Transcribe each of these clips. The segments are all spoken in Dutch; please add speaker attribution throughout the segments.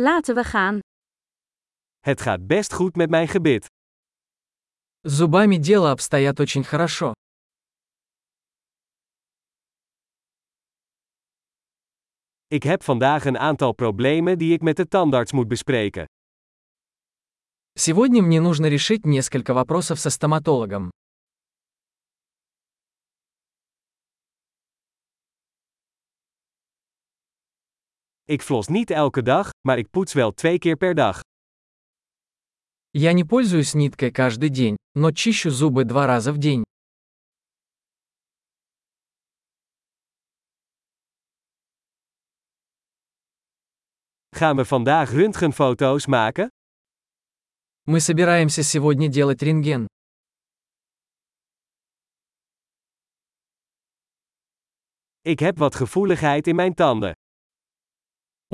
Speaker 1: Laten we gaan.
Speaker 2: Het gaat best goed met mijn gebit.
Speaker 3: С зубами дело обстоят очень хорошо.
Speaker 2: Ik heb vandaag een aantal problemen die ik met de tandarts moet bespreken.
Speaker 3: Сегодня мне нужно решить несколько вопросов со стоматологом.
Speaker 2: Ik flos niet elke dag, maar ik poets wel twee keer per dag.
Speaker 3: Я не пользуюсь ниткой каждый день, но чищу зубы два раза в день.
Speaker 2: Gaan we vandaag röntgenfoto's maken?
Speaker 3: Мы собираемся сегодня делать рентген.
Speaker 2: Ik heb wat gevoeligheid in mijn tanden.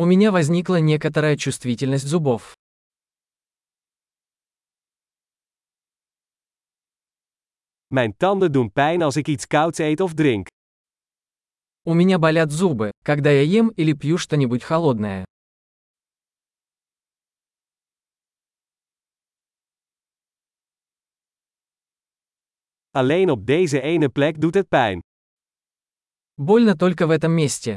Speaker 3: У меня возникла некоторая чувствительность зубов.
Speaker 2: Mijn tanden doen pijn als ik iets kouds eet of drink.
Speaker 3: У меня болят зубы, когда я ем или пью что-нибудь холодное.
Speaker 2: Alleen op deze ene plek doet het pijn.
Speaker 3: Больно только в этом месте.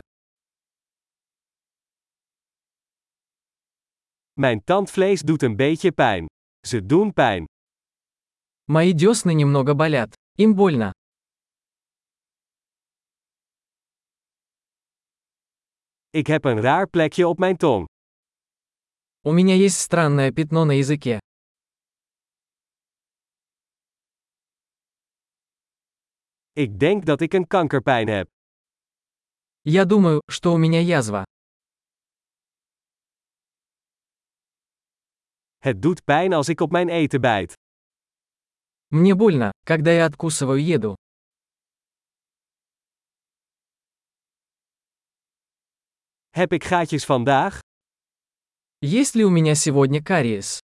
Speaker 2: Mijn tandvlees doet een beetje pijn. Ze doen pijn.
Speaker 3: Мои десны немного болят. Им больно.
Speaker 2: Ik heb een raar plekje op mijn tong.
Speaker 3: У меня есть странное пятно на языке.
Speaker 2: Ik denk dat ik een kankerpijn heb.
Speaker 3: Я думаю, что у меня язва.
Speaker 2: Het doet pijn als ik op mijn eten bijt.
Speaker 3: Мне больно, когда я откусываю еду.
Speaker 2: Heb ik gaatjes vandaag?
Speaker 3: Есть ли у меня сегодня кариес?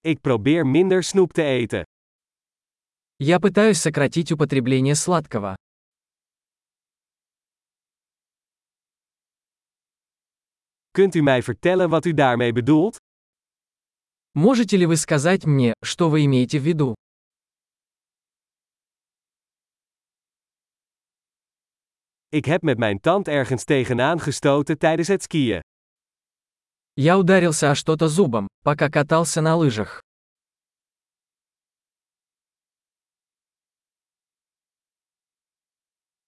Speaker 2: Ik probeer minder snoep te eten.
Speaker 3: Я пытаюсь сократить употребление сладкого.
Speaker 2: Kunt u mij vertellen wat u daarmee bedoelt?
Speaker 3: Можете ли вы сказать мне, что вы имеете в виду?
Speaker 2: Ik heb met mijn tand ergens tegenaan gestoten tijdens het skiën.
Speaker 3: Я ударился о что-то зубом, пока катался на лыжах.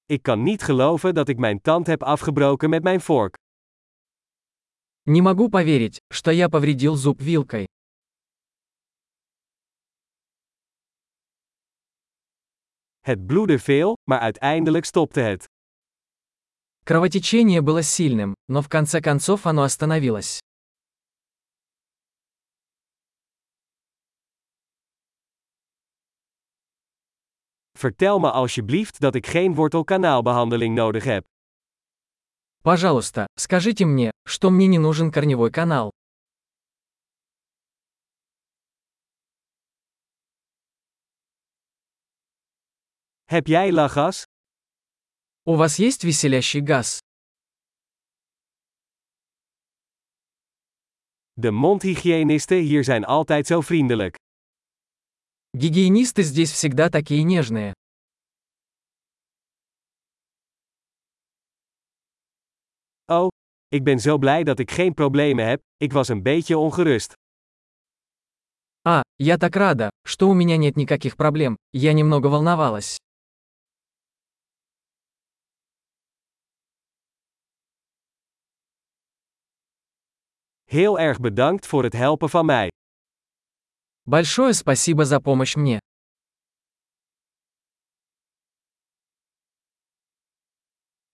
Speaker 2: Ik kan niet geloven dat ik mijn tand heb afgebroken met mijn vork.
Speaker 3: Не могу поверить, что я повредил зуб вилкой.
Speaker 2: Het bloedde veel, maar uiteindelijk stopte het.
Speaker 3: Кровотечение было сильным, но в конце концов оно остановилось.
Speaker 2: Vertel me alsjeblieft dat ik geen wortelkanaalbehandeling nodig heb.
Speaker 3: Пожалуйста, скажите мне, что мне не нужен корневой канал.
Speaker 2: Heb jij lachgas?
Speaker 3: У вас есть веселящий газ?
Speaker 2: De mondhygiënisten hier zijn altijd zo vriendelijk.
Speaker 3: Гигиенисты здесь всегда такие нежные.
Speaker 2: Ik ben zo blij dat ik geen problemen heb, ik was een beetje ongerust.
Speaker 3: А, я так рада, что у меня нет никаких проблем, я немного волновалась.
Speaker 2: Heel erg bedankt voor het helpen van mij.
Speaker 3: Большое спасибо за помощь мне.